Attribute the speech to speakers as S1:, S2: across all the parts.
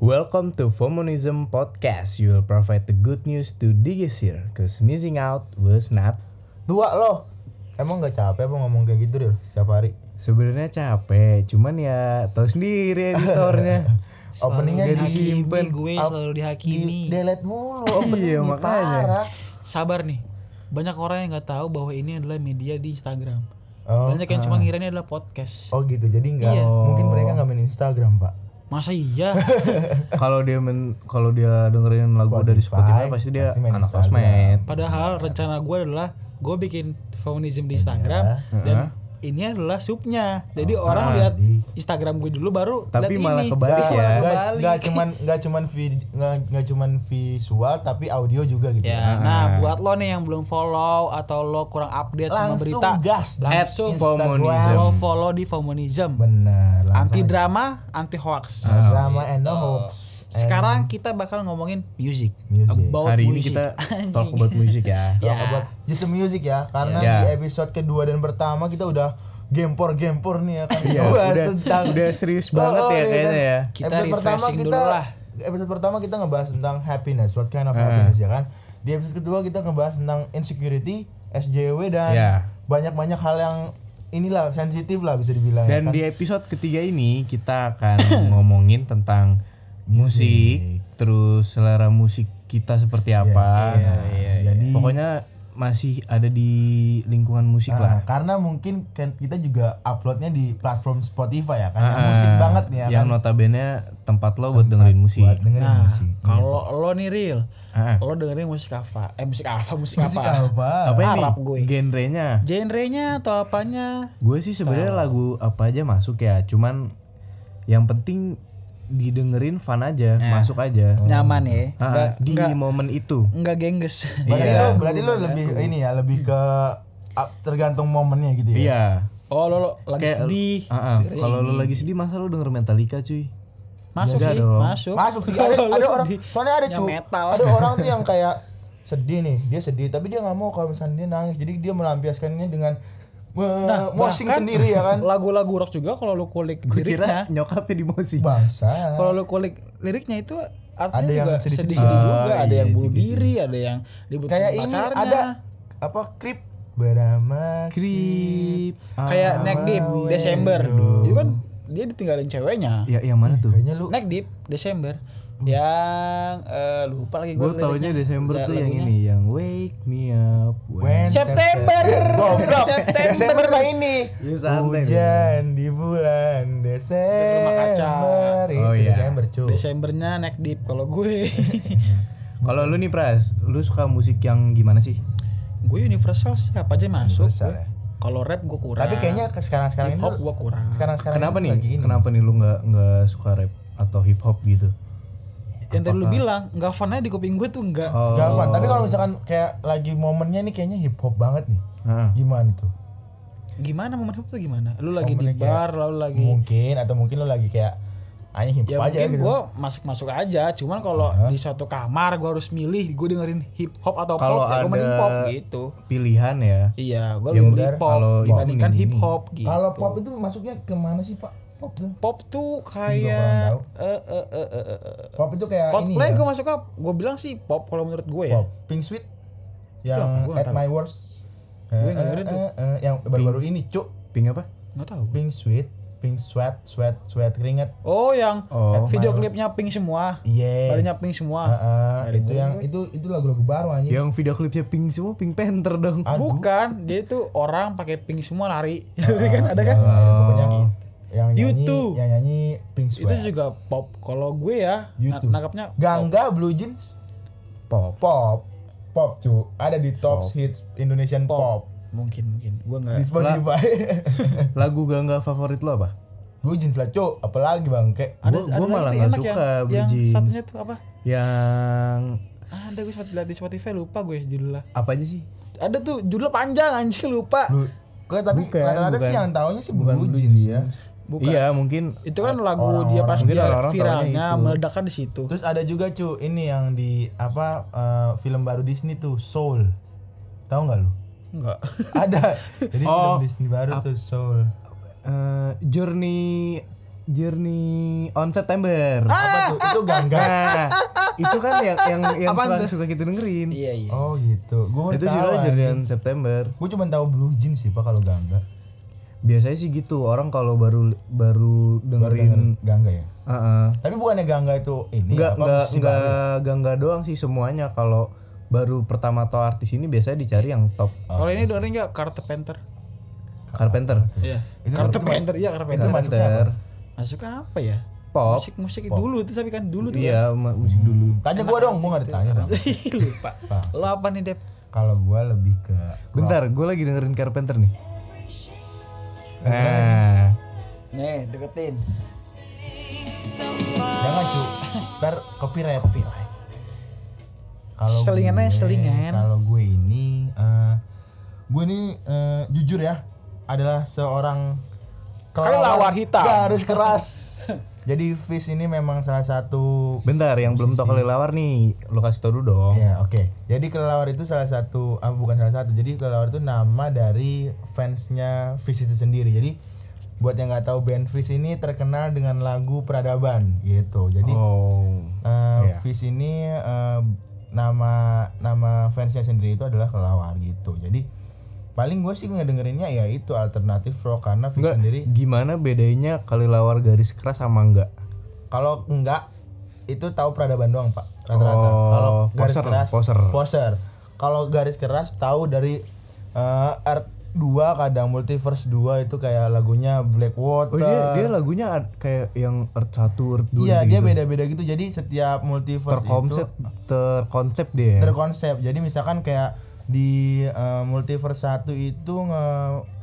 S1: Welcome to Fomonism Podcast. You will provide the good news to digis here, cause missing out was not.
S2: Dua loh. Emang gak capek apa ngomong kayak gitu Ril? Setiap hari.
S1: Sebenarnya capek, cuman ya tahu sendiri editornya.
S2: Openingnya
S1: Gak
S2: di,
S1: dihakimi, disimpan.
S3: gue
S2: Up-
S3: selalu
S2: di
S3: dihakimi
S2: delete mulu.
S1: Iya,
S2: Openingnya
S1: makanya.
S2: parah.
S3: sabar nih banyak orang yang nggak tahu bahwa ini adalah media di Instagram
S2: Oh,
S3: banyak Iya. yang cuma ngira ini adalah podcast
S2: oh gitu. Jadi enggak. Mungkin mereka nggak main Instagram, Pak.
S3: masa iya
S1: kalau dia men, kalau dia dengerin lagu dari Spotify pasti dia
S2: pasti main
S1: anak
S2: Instagram.
S1: sosmed.
S3: padahal rencana gue adalah gue bikin feminism di
S2: Eh,
S3: Instagram dan ini adalah subnya jadi
S2: Oh,
S3: orang
S2: ah,
S3: lihat Instagram gue dulu baru
S1: Tapi
S3: lihat
S1: malah
S3: ini.
S1: kebalik
S3: Tapi
S1: ya.
S3: malah
S2: Nggak-
S3: kebalik.
S2: nggak cuman nggak cuman vid- nggak nggak cuman visual tapi audio juga gitu.
S3: Ya, nah buat lo nih yang belum follow atau lo kurang update sama
S2: Langsung
S3: berita,
S2: gas
S3: langsung
S1: At Fomonism.
S3: lo follow di Fomonism.
S2: Bener. langsung.
S3: Anti drama, anti
S2: Eh,
S3: hoax.
S2: Drama and no hoax.
S3: Sekarang kita bakal ngomongin music.
S2: Music.
S3: About
S1: Hari ini
S3: music.
S1: kita talk about music ya.
S2: Talk
S3: Ya.
S2: about just music ya karena
S1: Ya.
S2: di episode kedua dan pertama kita udah gempor-gempor nih ya kan
S1: Iya,
S2: Bahas
S1: udah- udah serius banget ya
S2: iya kan?
S1: kayaknya ya.
S3: Kita refreshing
S2: kita,
S3: dulu lah.
S2: episode pertama kita ngebahas tentang happiness what kind of happiness ya kan di episode kedua kita ngebahas tentang insecurity SJW dan
S1: Ya.
S2: banyak-banyak hal yang inilah sensitif lah bisa dibilang ya
S1: Dan
S2: kan?
S1: di episode ketiga ini kita akan ngomongin tentang musik, terus selera musik kita seperti apa. Nah,
S2: Yes. Iya, iya, iya. Jadi-
S1: pokoknya masih ada di lingkungan musik lah.
S2: Nah, karena mungkin kan kita juga uploadnya di platform Spotify ya kan yang musik
S1: Ah,
S2: banget nih ya
S1: Yang
S2: kan
S1: notabene tempat lo buat dengerin musik.
S2: buat dengerin
S3: Nah,
S2: musik
S3: kalau lo nih real,
S1: Ah.
S3: lo dengerin musik apa? Eh musik apa? Musik,
S2: musik
S3: apa?
S2: apa?
S1: apa ini?
S3: Arab gue.
S1: Genrenya?
S3: Genrenya atau apanya?
S1: Gue sih sebenarnya lagu apa aja masuk ya, cuman yang penting didengerin fun aja,
S2: Eh.
S1: masuk aja.
S2: Nah,
S3: Nyaman ya. Nggak
S1: Ah, di momen itu.
S3: nggak gengges.
S2: Berarti lo berarti lo lebih
S3: Iya.
S2: ini ya, lebih ke up- tergantung momennya gitu ya.
S1: Iya.
S3: Oh lo, lo lagi sedih.
S1: Ah, ah. Kalau lo lagi sedih masa lo denger Metallica cuy.
S3: Masuk
S1: Jaga
S3: sih,
S1: dong.
S3: masuk.
S2: Masuk sih ada,
S3: Kalau lo
S2: ada orang,
S3: sedih.
S2: soalnya ada
S3: Ya,
S2: cu,
S3: metal.
S2: ada orang tuh yang kayak sedih nih, dia sedih tapi dia nggak mau kalau misalnya dia nangis, jadi dia melampiaskannya dengan nah, mosing
S3: bahkan-
S2: sendiri ya kan.
S3: Lagu-lagu rock juga kalau lo kulik
S1: Gue kira
S3: liriknya,
S1: nyokapnya di musik.
S2: Bangsa.
S3: kalau lo kulik liriknya itu artinya
S2: Ada yang
S3: juga
S2: sedih-sedih.
S3: sedih-sedih juga,
S1: Ah,
S3: ada
S1: iya
S3: yang
S1: juga
S3: bunuh
S1: sih.
S3: diri, ada yang dibutuhin
S2: Kayak ini
S3: pacarnya.
S2: ada apa krip bernama
S1: Krip.
S3: Hmm. kayak
S1: Ah,
S3: neck deep Desember
S2: Aduh.
S3: itu kan dia ditinggalin ceweknya
S1: Ya, yang mana tuh?
S2: Kayaknya lu
S3: neck deep Desember yang eh, lupa lagi
S1: Gue
S3: gua
S1: taunya
S3: liriknya.
S1: Desember
S3: Ya,
S1: tuh yang
S3: lagunya.
S1: ini, yang Wake Me Up
S2: When
S3: September
S2: Goblok.
S3: September.
S2: Desember mah ini.
S1: Ya, santai
S2: Hujan di bulan
S3: rumah kaca.
S2: Desember. Itu
S1: Oh, iya.
S2: Desember cuy.
S3: Desembernya neck deep kalau gue
S1: Kalau lu nih Pras, lu suka musik yang gimana sih?
S3: gue universal sih apa aja masuk
S2: Universal ya.
S3: kalau rap gue kurang
S2: Tapi kayaknya ke- sekarang-sekarang
S3: hip
S2: ini
S3: hop gue kurang
S2: sekarang-sekarang
S1: Kenapa
S2: ini
S1: nih?
S2: lagi ini.
S1: Kenapa nih lu nggak nggak suka rap atau hip hop gitu?
S3: yang tadi lu bilang nggak funnya di kuping gue tuh nggak
S1: Oh.
S2: Gak fun. Tapi kalau misalkan kayak lagi momennya nih kayaknya hip hop banget nih.
S1: Ah.
S2: Gimana tuh?
S3: gimana momen hip hop tuh gimana lu lagi di
S2: Momennya
S3: bar lalu lagi
S2: Mungkin atau mungkin lo lagi kayak anjing hip
S3: ya
S2: hop aja
S3: mungkin
S2: gitu.
S3: gue masuk masuk aja cuman kalau di suatu kamar gue harus milih gue dengerin hip hop atau
S1: Kalau
S3: pop ya gue mending
S1: ada-
S3: pop gitu
S1: Pilihan ya.
S3: iya gue
S1: Ya
S3: lebih
S1: bener,
S3: milih pop
S1: kalau
S3: dibandingkan
S1: ini, ini,
S3: hip hop gitu
S2: Kalau pop itu masuknya kemana sih pak? Pop tuh?
S3: pop tuh
S2: kurang
S3: kayak
S2: tahu.
S3: eh eh eh eh eh, eh.
S2: Pop itu
S1: Nah,
S2: kayak ini
S3: Coldplay
S2: ya.
S3: gue masuk ke gue bilang sih pop kalau menurut gue ya
S2: Pop. Pink Sweet yang
S3: apa? Gua nggak
S2: At My Worst.
S3: Gue
S2: Eh,
S3: nggak dengerin
S2: eh,
S3: tuh.
S2: eh, eh, yang baru-baru ini cuk
S1: Pink apa?
S3: nggak tahu
S2: Pink Sweet, Pink Sweat, Sweat, Sweat keringet.
S3: oh yang
S1: Oh.
S3: video klipnya pink semua
S2: Iya.
S3: badannya pink
S2: Ah,
S3: semua
S2: ah, itu yang itu itu lagu-lagu baru anjing.
S3: Iya.
S1: Yang video klipnya Pink semua Pink Panther dong.
S2: Aduh.
S3: bukan dia tuh orang pakai pink semua lari
S1: Ah,
S3: kan ada
S1: iya,
S2: Ya,
S3: kan
S1: Oh.
S2: ada pokoknya yang nyanyi,
S3: U2.
S2: yang nyanyi Pink
S3: itu
S2: Sweat.
S3: juga pop kalau gue ya na-
S2: YouTube.
S3: nangkapnya
S2: Gangga Blue Jeans
S1: Pop.
S2: pop pop cu ada di top hits Indonesian pop,
S3: mungkin mungkin gue
S2: di
S3: nggak
S2: Spotify
S1: Eh, Lagu gangga favorit lo apa?
S2: Blue Jeans lah cu apalagi bangke
S1: Gua- gua
S3: lagi
S1: malah
S3: tuh
S1: nggak
S3: enak
S1: suka Blue
S3: yang,
S1: Jeans.
S3: yang satunya tuh apa Ah,
S1: Yang
S3: ada gue sempat lihat di Spotify lupa gue judulnya
S1: apa aja sih?
S3: ada tuh judulnya panjang anjing lupa
S2: Blue Gua, tapi
S1: Bukan,
S2: rata-rata
S1: bukan.
S2: sih yang taunya sih Blue, Jeans, ya
S3: Bukan.
S1: Iya mungkin
S3: itu kan lagu
S2: Orang-orang
S3: dia pas
S1: mungkin
S3: dia
S1: orang-orang taunya
S3: viralnya
S1: itu.
S3: meledakkan kan di situ
S2: terus ada juga cu ini yang di apa eh, film baru Disney tuh Soul tahu nggak lu
S3: enggak
S2: ada jadi
S1: Oh.
S2: film Disney baru tuh Soul
S1: eh, Journey Journey on September.
S2: Apa tuh? Itu gangga.
S1: Nah, itu kan yang yang yang
S3: Apaan
S1: suka, suka kita dengerin.
S3: Iya iya.
S2: Oh gitu. Gue
S1: Itu
S2: udah tahu.
S1: judulnya Journey on September.
S2: Gue cuma tahu blue jeans sih pak kalau gangga.
S1: Biasanya sih gitu orang kalau baru baru
S2: Baru
S1: dengerin
S2: denger gangga ya.
S1: Heeh.
S2: Tapi bukannya gangga itu ini
S1: nggak
S2: apa ya?
S1: nggak
S2: musisi
S1: nggak
S2: baru?
S1: gangga doang sih semuanya kalau baru pertama tau artis ini biasanya dicari yang top
S3: Kalau ini dengerin enggak Carter Panther?
S1: Carpenter
S3: Iya.
S2: Itu
S3: Carter
S2: itu mah-
S3: Panther, iya Carter Panther.
S1: Carpenter
S3: Masuk apa ya?
S1: pop
S3: Musik-musik dulu itu tapi kan dulu tuh.
S1: iya ma- musik dulu
S2: Tanya gue dong, gue gak ditanya Bang.
S3: Ih, Lupa. Lo apa nih, Dep?
S2: Kalau gue lebih ke
S1: bentar gue lagi dengerin Carpenter nih nah
S3: Nih, deketin.
S2: jangan cu, ntar copyright. Kalau
S3: Selingan aja,
S2: gue-
S3: selingan.
S2: Kalau gue ini, eh, gue ini eh, jujur ya, adalah seorang
S3: Kelelawar hitam.
S2: Garis keras. Jadi Fish ini memang salah satu
S1: bentar yang belum tau kelelawar nih lo kasih tau dulu dong
S2: Ya oke. Jadi kelelawar itu salah satu, ah bukan salah satu. Jadi kelelawar itu nama dari fansnya Fish itu sendiri. Jadi buat yang nggak tahu band Fish ini terkenal dengan lagu peradaban gitu. Jadi
S1: oh
S2: eh, Fish ini eh, nama nama fansnya sendiri itu adalah kelelawar gitu. Jadi paling gue sih ngedengerinnya ya itu alternatif rock karena Fish sendiri
S1: gimana bedanya kelelawar garis keras sama enggak
S2: Kalau enggak itu tahu peradaban doang pak rata-rata.
S1: Oh,
S2: Kalau garis
S1: poser,
S2: keras
S1: poser.
S2: Kalau garis keras tahu dari eh, Earth 2 kadang Multiverse 2 itu kayak lagunya Blackwater.
S1: oh dia dia lagunya ad- kayak yang earth satu earth dua
S2: Iya
S1: gitu.
S2: dia beda-beda gitu. Jadi setiap multiverse
S1: terkonsep
S2: itu
S1: terkonsep dia ya?
S2: terkonsep. Jadi misalkan kayak di eh, multiverse 1 itu nge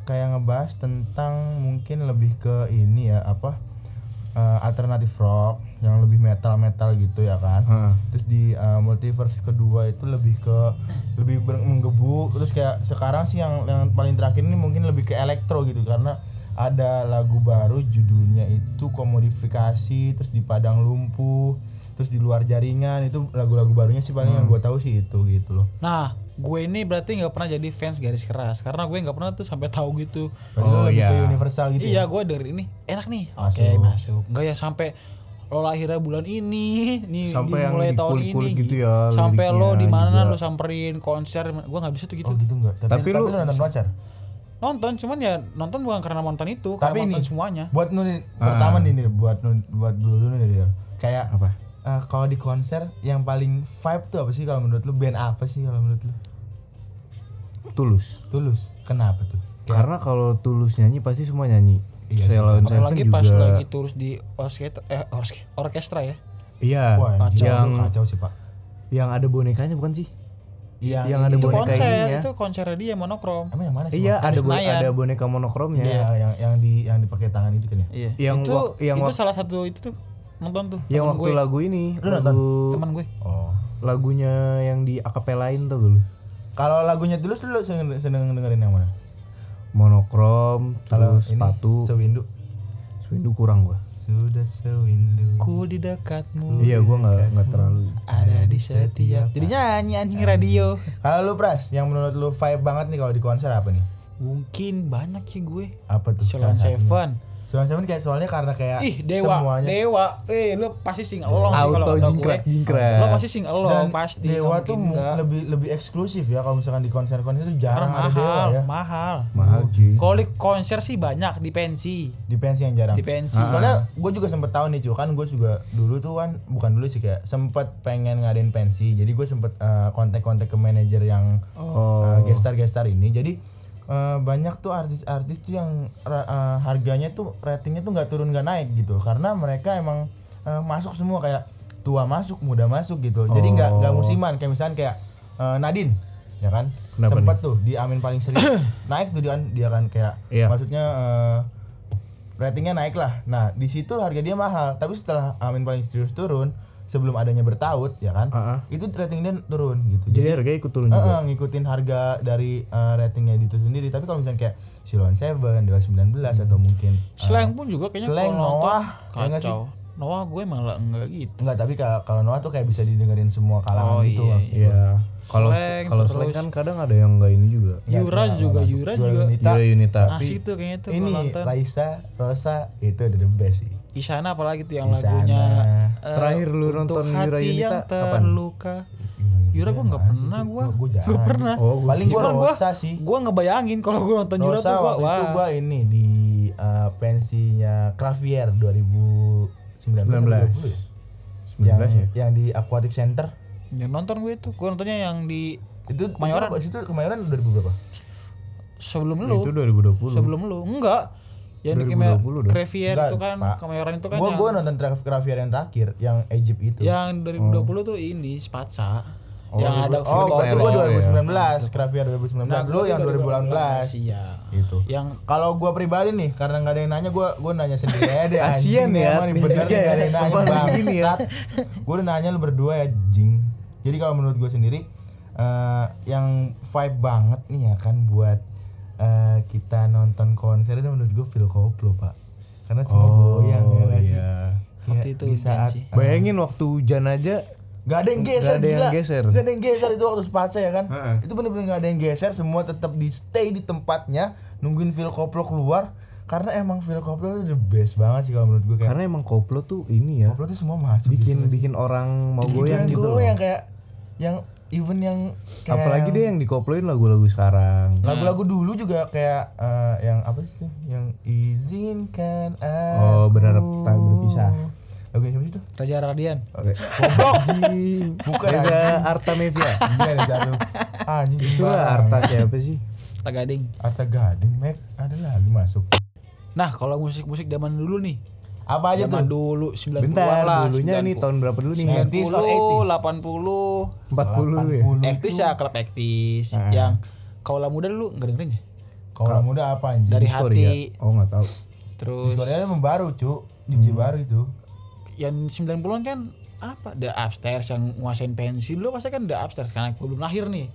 S2: kayak ngebahas tentang mungkin lebih ke ini ya apa eh, alternatif rock yang lebih metal-metal gitu ya kan.
S1: Heeh.
S2: Terus di eh, multiverse kedua itu lebih ke lebih ber- menggebu terus kayak sekarang sih yang yang paling terakhir ini mungkin lebih ke elektro gitu karena ada lagu baru judulnya itu komodifikasi terus di padang lumpuh terus di luar jaringan itu lagu-lagu barunya sih paling yang
S1: Hmm.
S2: gue tahu sih itu gitu loh
S3: Nah, gue ini berarti nggak pernah jadi fans garis keras karena gue nggak pernah tuh sampai tahu gitu.
S2: Berarti lo
S1: Oh,
S2: lebih
S1: iya.
S2: ke universal gitu
S3: Iya,
S2: ya?
S3: gue dari ini enak nih.
S2: Masuk.
S3: Oke, masuk. Nggak ya sampai lo lahirnya bulan ini, nih
S1: Sampai yang
S3: dimulai tahun
S1: dikulik-kulik
S3: ini,
S1: gitu ya,
S3: sampai lo
S1: liriknya
S3: di mana
S1: juga.
S3: lo samperin konser, gue nggak bisa tuh gitu.
S2: oh gitu enggak tapi,
S1: Iya, Tapi
S2: tapi,
S1: lu-
S2: lu nonton pacar
S3: Nonton cuman ya nonton bukan karena nonton itu,
S2: tapi
S3: karena
S2: ini
S3: nonton semuanya.
S2: buat lu nih
S1: Ah.
S2: pertama nih Nir, buat lu buat dulu nih Nir. kayak
S1: Apa?
S2: eh, kalau di konser yang paling vibe tuh apa sih kalau menurut lu band apa sih kalau menurut lu
S1: tulus
S2: tulus kenapa tuh
S1: Karena kalau tulus nyanyi pasti semua nyanyi.
S2: Iya sih,
S1: Ceylon Seven
S3: Apalagi
S1: juga.
S3: pas lagi terus di orkestra, eh, orkes- orkestra ya.
S1: Iya.
S2: wah yang gila
S1: yang
S2: tuh kacau sih pak
S1: yang ada bonekanya bukan sih?
S2: yang,
S1: yang ada
S2: ini-
S3: Itu
S1: boneka
S3: konser,
S1: ininya.
S3: itu konsernya dia monokrom.
S2: emang yang mana sih
S1: Iya,
S2: Pak?
S1: ada
S3: di
S1: bo-
S3: Senayan.
S1: ada boneka monokromnya.
S2: Iya, yang yang di yang dipakai tangan itu kan ya
S3: Iya.
S1: Yang
S3: itu
S1: wak- yang
S3: itu
S1: wak-
S3: salah satu itu tuh nonton tuh.
S1: Yang Iya,
S3: temen
S1: waktu
S3: gue,
S1: lagu ini, lagu
S3: teman gue.
S2: oh
S1: lagunya yang di akapelain tuh dulu.
S2: kalau lagunya tulus lu seneng, seneng dengerin yang mana
S1: Monokrom,
S2: kalau
S1: terus sepatu,
S2: sewindu
S1: Swindu kurang gua.
S2: sudah sewindu
S3: Ku di dekatmu
S1: Iya, gua nggak nggak terlalu.
S3: ada di setiap. Jadi nyanyi anjing radio.
S2: kalau lu pras yang menurut lu vibe banget nih kalau di konser apa nih
S3: Mungkin banyak ya gue.
S2: apa tuh
S3: Salon Seven.
S2: Salon Seven kayak soalnya karena kayak
S3: Ih, dewa,
S2: semuanya
S3: dewa. Eh, lu pasti sing along sih kalau
S1: Auto
S3: kata gue.
S1: jingkrak jingkrak.
S3: Lu pasti sing along
S2: dan
S3: pasti.
S2: dewa
S3: nggak
S2: tuh
S3: mungkin
S2: mu-
S3: nggak.
S2: lebih lebih eksklusif ya kalau misalkan di konser-konser tuh
S3: Karena
S2: jarang ada dewa
S3: mahal,
S2: ya
S3: mahal.
S1: Mahal cuy.
S3: Kalau di konser sih banyak di pensi,
S2: di pensi yang jarang
S3: di pensi.
S2: Soalnya gue juga sempet tahu nih cuy kan gue juga dulu tuh kan bukan dulu sih kayak sempet pengen ngadain pensi jadi gue sempet eh, kontak-kontak ke manajer yang
S1: Oh.
S2: eh, gestar-gestar ini jadi eh, banyak tuh artis-artis tuh yang ra- eh, harganya tuh ratingnya tuh nggak turun nggak naik gitu karena mereka emang eh, masuk semua kayak tua masuk muda masuk gitu jadi nggak
S1: Oh.
S2: nggak musiman kayak misalkan kayak eh, Nadine ya kan
S1: Kenapa
S2: sempet tuh di Amin paling serius naik tuh dia kan dia kan kayak
S1: Iya.
S2: maksudnya eh, ratingnya naik lah. Nah di situ harga dia mahal, tapi setelah Amin paling serius turun, sebelum adanya bertaut ya kan,
S1: Ah, ah.
S2: itu rating dia turun gitu.
S1: Jadi harganya ikut turun
S2: eh,
S1: juga.
S2: eh,
S3: Gitu.
S2: ngikutin harga dari eh, ratingnya itu sendiri. Tapi kalau misalnya kayak Silon Seven, Dewa 19 atau mungkin eh,
S3: Slang pun juga kayaknya
S2: Slang,
S3: kalau nonton
S2: Noah, ya nggak
S3: kacau. Noah gue malah enggak gitu.
S2: enggak tapi kalau kalau Noah tuh kayak bisa didengerin semua kalangan
S3: Oh,
S2: gitu.
S3: iya,
S2: maksud gua.
S1: Iya. Kalau
S3: Slang,
S1: kalau slang
S3: terus-
S1: kan kadang ada yang enggak ini juga.
S2: Nggak,
S3: Yura
S2: nggak,
S3: juga,
S2: nggak.
S3: Yura
S2: Yura
S3: juga.
S2: Yunita.
S3: Ah,
S1: Iya Yunita.
S3: Asik tuh kayaknya tuh kalau
S2: Ini
S3: nonton.
S2: Raisa, Rosa itu udah the best sih.
S3: Isyana apalagi tuh yang
S2: Isyana.
S3: lagunya eh,
S1: Terakhir lu
S3: untuk
S1: nonton Yura
S3: hati
S1: Yunita
S3: yang
S1: kapan?
S3: terluka. Yura gue nggak pernah gue,
S2: Gue jarang.
S3: nggak pernah.
S1: Oh, gua-
S2: Paling gue
S3: Cuman gua-
S2: Rosa sih.
S3: Gue ngebayangin kalau gue nonton Yura
S2: Rosa
S3: tuh gue
S2: waktu
S3: wah.
S2: itu gue ini di eh, pensinya Kravier 2019
S1: 19.
S2: 20 ya?
S1: 19
S2: yang,
S1: ya?
S2: yang di Aquatic Center
S3: Yang Ya, nonton gue itu, gue nontonnya yang di
S2: itu
S3: Kemayoran.
S2: itu, itu kemayoran 2000 berapa?
S3: sebelum
S1: Itu
S3: lu,
S1: 2020.
S3: sebelum lu, enggak. Yang di Kemel,
S1: 2020 dong.
S3: Crevier
S2: Enggak,
S3: itu kan,
S2: Pak.
S3: Kemayoran itu kan
S2: Gue
S3: yang,
S2: gue nonton Tra- Kravier yang terakhir yang Egypt itu.
S3: yang
S1: Oh.
S3: 2020 tuh ini Spatsa. yang
S1: Film
S2: Oh,
S3: ada
S2: itu
S1: Kemayoran.
S2: gua
S1: Oh, iya.
S2: 2019, Kravier 2019, lu Nah, yang 2018.
S3: Iya.
S2: Itu.
S3: Yang
S2: Kalau gua pribadi nih, karena nggak ada yang nanya, gua gua nanya sendiri aja deh.
S1: Kasian
S2: anjing nih,
S1: ya,
S2: emang nih
S1: iya
S2: bener nih nggak ada yang
S1: ya.
S2: nanya
S1: Apalagi gini ya.
S2: bangsat. Gua udah nanya lu berdua ya, jing. Jadi kalau menurut gua sendiri, eh, yang vibe banget nih ya kan buat eh, kita nonton konser itu menurut gua Phil Koplo pak. Karena semua goyang ya nggak sih.
S1: iya.
S2: Kayak
S3: Waktu itu
S2: di saat
S3: janji.
S1: Oh, Bayangin waktu hujan aja
S2: Gak ada yang
S1: Nggak
S2: geser
S1: ada yang
S2: gila.
S1: geser.
S2: Gak ada yang geser itu waktu sepatsa ya kan.
S1: Heeh.
S2: Itu bener-bener gak ada yang geser, semua tetap di stay di tempatnya nungguin Phil Koplo keluar karena emang Phil Koplo itu the best banget sih kalau menurut gue kayak
S1: karena emang koplo tuh ini ya
S2: Ya. Koplo tuh semua masuk
S1: bikin
S2: gitu.
S1: bikin orang mau goyang gitu.
S2: gue yang kayak yang even yang kayak
S1: Apalagi dia yang Hmm. dikoploin lagu-lagu sekarang.
S2: lagu-lagu dulu juga kayak eh, yang apa sih yang izinkan aku.
S1: Oh, berharap tak berpisah.
S2: Lagu yang siapa sih itu?
S3: Raja Radian.
S2: Bukan
S1: Reza
S2: anjing.
S1: Arta Mevia.
S2: Iya, ada satu. Anjing
S1: Itu
S2: sembarang.
S1: Arta siapa sih?
S3: Tagading.
S2: Arta Gading, Mac ada lagi masuk.
S3: Nah, kalau musik-musik zaman dulu nih.
S2: Apa aja
S3: Zaman
S2: tuh?
S3: dulu 90-an lah.
S1: Bentar, dulunya nih
S3: 90-an.
S1: tahun berapa dulu nih?
S2: 90s or 80s?
S1: 40
S3: 80,
S1: dulu ya.
S2: 80.
S3: 80. 80 ya klub aktis
S2: Hmm.
S3: yang kaulah muda dulu enggak dengerin ya?
S2: Kalau muda apa anjing?
S3: Dari hati.
S1: Korea. Oh, nggak tahu.
S3: Terus
S2: Discordia emang baru, cu. DJ
S1: Hmm.
S2: baru itu.
S3: yang 90-an kan apa? The Upstairs yang nguasain pensi dulu pasti kan The Upstairs karena gue belum lahir nih.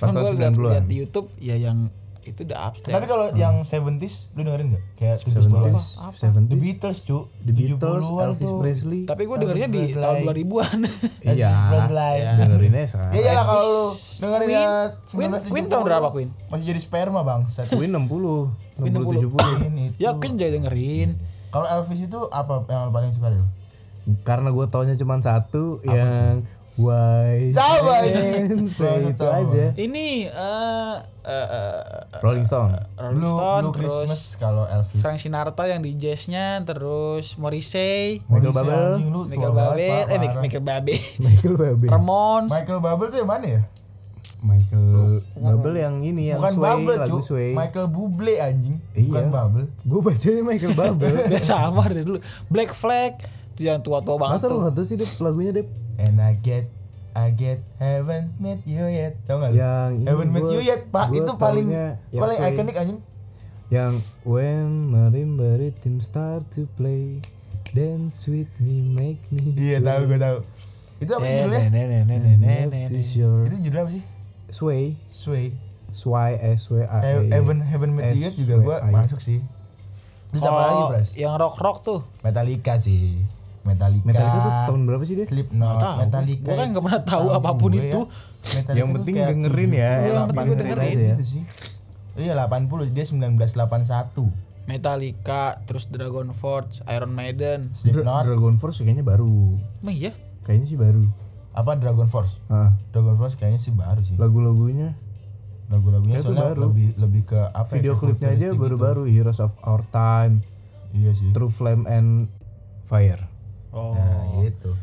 S1: Pas
S3: Cuman
S1: tahun
S3: gue lihat
S1: 90-an.
S3: lihat di YouTube ya yang itu The Upstairs.
S2: Tapi
S1: Hmm.
S2: kalau yang 70s lu dengerin gak? Kayak 70s.
S1: 70s, 70s.
S2: The Beatles, cu.
S1: The Beatles,
S2: 70-an
S1: Elvis
S2: tuh.
S1: Presley.
S3: Tapi gue dengernya di
S2: Elvis
S3: tahun
S2: Presley.
S3: 2000-an.
S2: Elvis
S1: Iya.
S2: Presley.
S1: Dengerinnya sekarang.
S2: Ya iyalah kalau lu dengerin
S3: Queen.
S2: ya
S3: Queen-
S2: 1970.
S3: Queen tahun berapa, Queen?
S2: Masih jadi sperma, Bang. Set.
S1: Queen 60, 60 70.
S2: Queen itu.
S3: Yakin jadi Ya, dengerin.
S2: Kalau Elvis itu apa yang paling suka lu?
S1: Karena gue taunya cuma satu yang Why
S2: Sama ini.
S1: Friends, itu aja.
S3: Ini eh eh, eh, eh,
S1: Rolling Stone.
S3: Rolling
S2: Blue,
S3: Stone
S2: Blue
S3: terus
S2: Christmas kalau Elvis.
S3: Frank Sinatra yang di jazznya terus Morrissey
S1: Michael
S2: Morrissey,
S1: Bublé.
S2: anjing, lu tua
S3: Michael
S2: banget, Pak,
S3: Babe
S2: parah.
S3: eh Michael,
S2: Iya.
S3: Michael Babe
S1: Michael Bublé.
S3: Ramones
S2: Michael Bublé tuh yang mana ya?
S1: Michael Bublé yang ini yang
S2: Bukan
S1: Sway,
S2: Bublé, cu.
S1: Iya, lagu Sway.
S2: Michael Bublé anjing.
S1: Iya.
S2: Bukan Bublé.
S1: Gue bacanya Michael Bublé.
S3: udah sama dari dulu Black Flag itu yang tua-tua banget
S1: Masa lu
S3: tuh
S1: nggak tahu sih Dep, lagunya Dep?
S2: And I get I get haven't met you yet. Tau gak lu?
S1: Yang ini
S2: haven't met
S1: gua-
S2: you yet, Pak.
S1: gua
S2: Itu paling
S1: taunya yang
S2: paling
S1: Sway.
S2: ikonik anjing.
S1: Yang when marimba rhythm start to play dance with me make me Nah,
S2: Iya, tahu gua tahu. Itu apa sih judulnya?
S1: Next is your
S2: Itu judulnya apa sih?
S1: nah, sway
S2: Sway.
S1: sway s w a E.
S2: He- Haven't haven't met you yet juga gua
S1: SWAY.
S2: masuk sih. Terus apa lagi,
S3: Kalau ya-
S2: Bras?
S3: Oh, yang rock-rock tuh
S2: Metallica sih. Metallica.
S1: Metallica tuh tahun berapa sih dia?
S2: Slipknot,
S3: tahu.
S2: Metallica.
S3: Gua kan
S2: itu
S3: nggak pernah tahu
S2: setahu
S3: apapun
S2: gue ya.
S3: itu.
S2: Metallica
S1: Yang
S2: tuh
S1: penting
S2: kayak
S1: dengerin ya,
S2: 70,
S1: yang
S3: penting gue dengerin
S2: 80
S1: aja
S2: Gitu sih. Iya 80 dia 1981.
S3: Metallica terus Dragon Force Iron Maiden
S1: Dra-
S2: Slipknot
S1: Dragon Force kayaknya baru
S3: emang iya
S1: kayaknya sih baru
S2: apa Dragon Force?
S1: ah
S2: Dragon Force kayaknya sih baru sih.
S1: lagu-lagunya
S2: Lagu-lagunya
S1: Kayaknya tuh
S2: soalnya
S1: baru.
S2: lebih lebih ke apa ya,
S1: video
S2: ke
S1: klipnya aja
S2: futuristik gitu.
S1: baru-baru Heroes of Our Time
S2: Iya sih.
S1: True Flame and Fire
S3: oh
S2: Nah, gitu.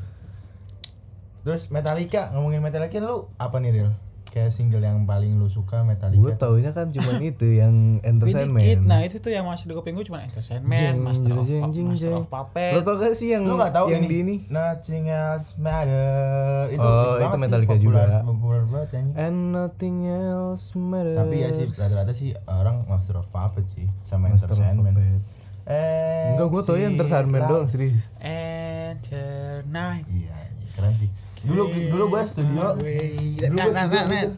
S2: Terus Metallica, ngomongin Metallica lu apa nih Ril? Kayak single yang paling lu suka
S1: gue
S2: Metallica.
S1: taunya kan cuman itu yang
S3: Dikit.
S1: Entertainment
S3: Nah itu tuh yang masih di kuping gue cuma Entertainment,
S1: Jeng,
S3: Master of,
S1: jeng, jeng,
S3: Master
S1: jeng.
S3: of Puppets.
S1: Lo tau gak sih yang
S2: lu nggak tahu
S1: yang
S2: ini.
S1: di ini?
S2: Nothing else matter. Itu
S1: Oh,
S2: banget
S1: itu
S2: sih,
S1: Metallica
S2: populer,
S1: juga. Eh.
S2: Populer banget anjing.
S1: And nothing else matters.
S2: Tapi ya sih rata-rata sih orang Master of Puppets sih sama
S1: Master of
S2: Entertainment.
S1: Puppets.
S2: Eh.
S1: Enggak, gue tau yang Entertainment doang serius.
S3: Enter night.
S2: Iya, keren sih. Dulu dulu gue studio. Dulu gue
S3: Nah, nah,
S2: studio
S3: nah, nah.
S2: gitu.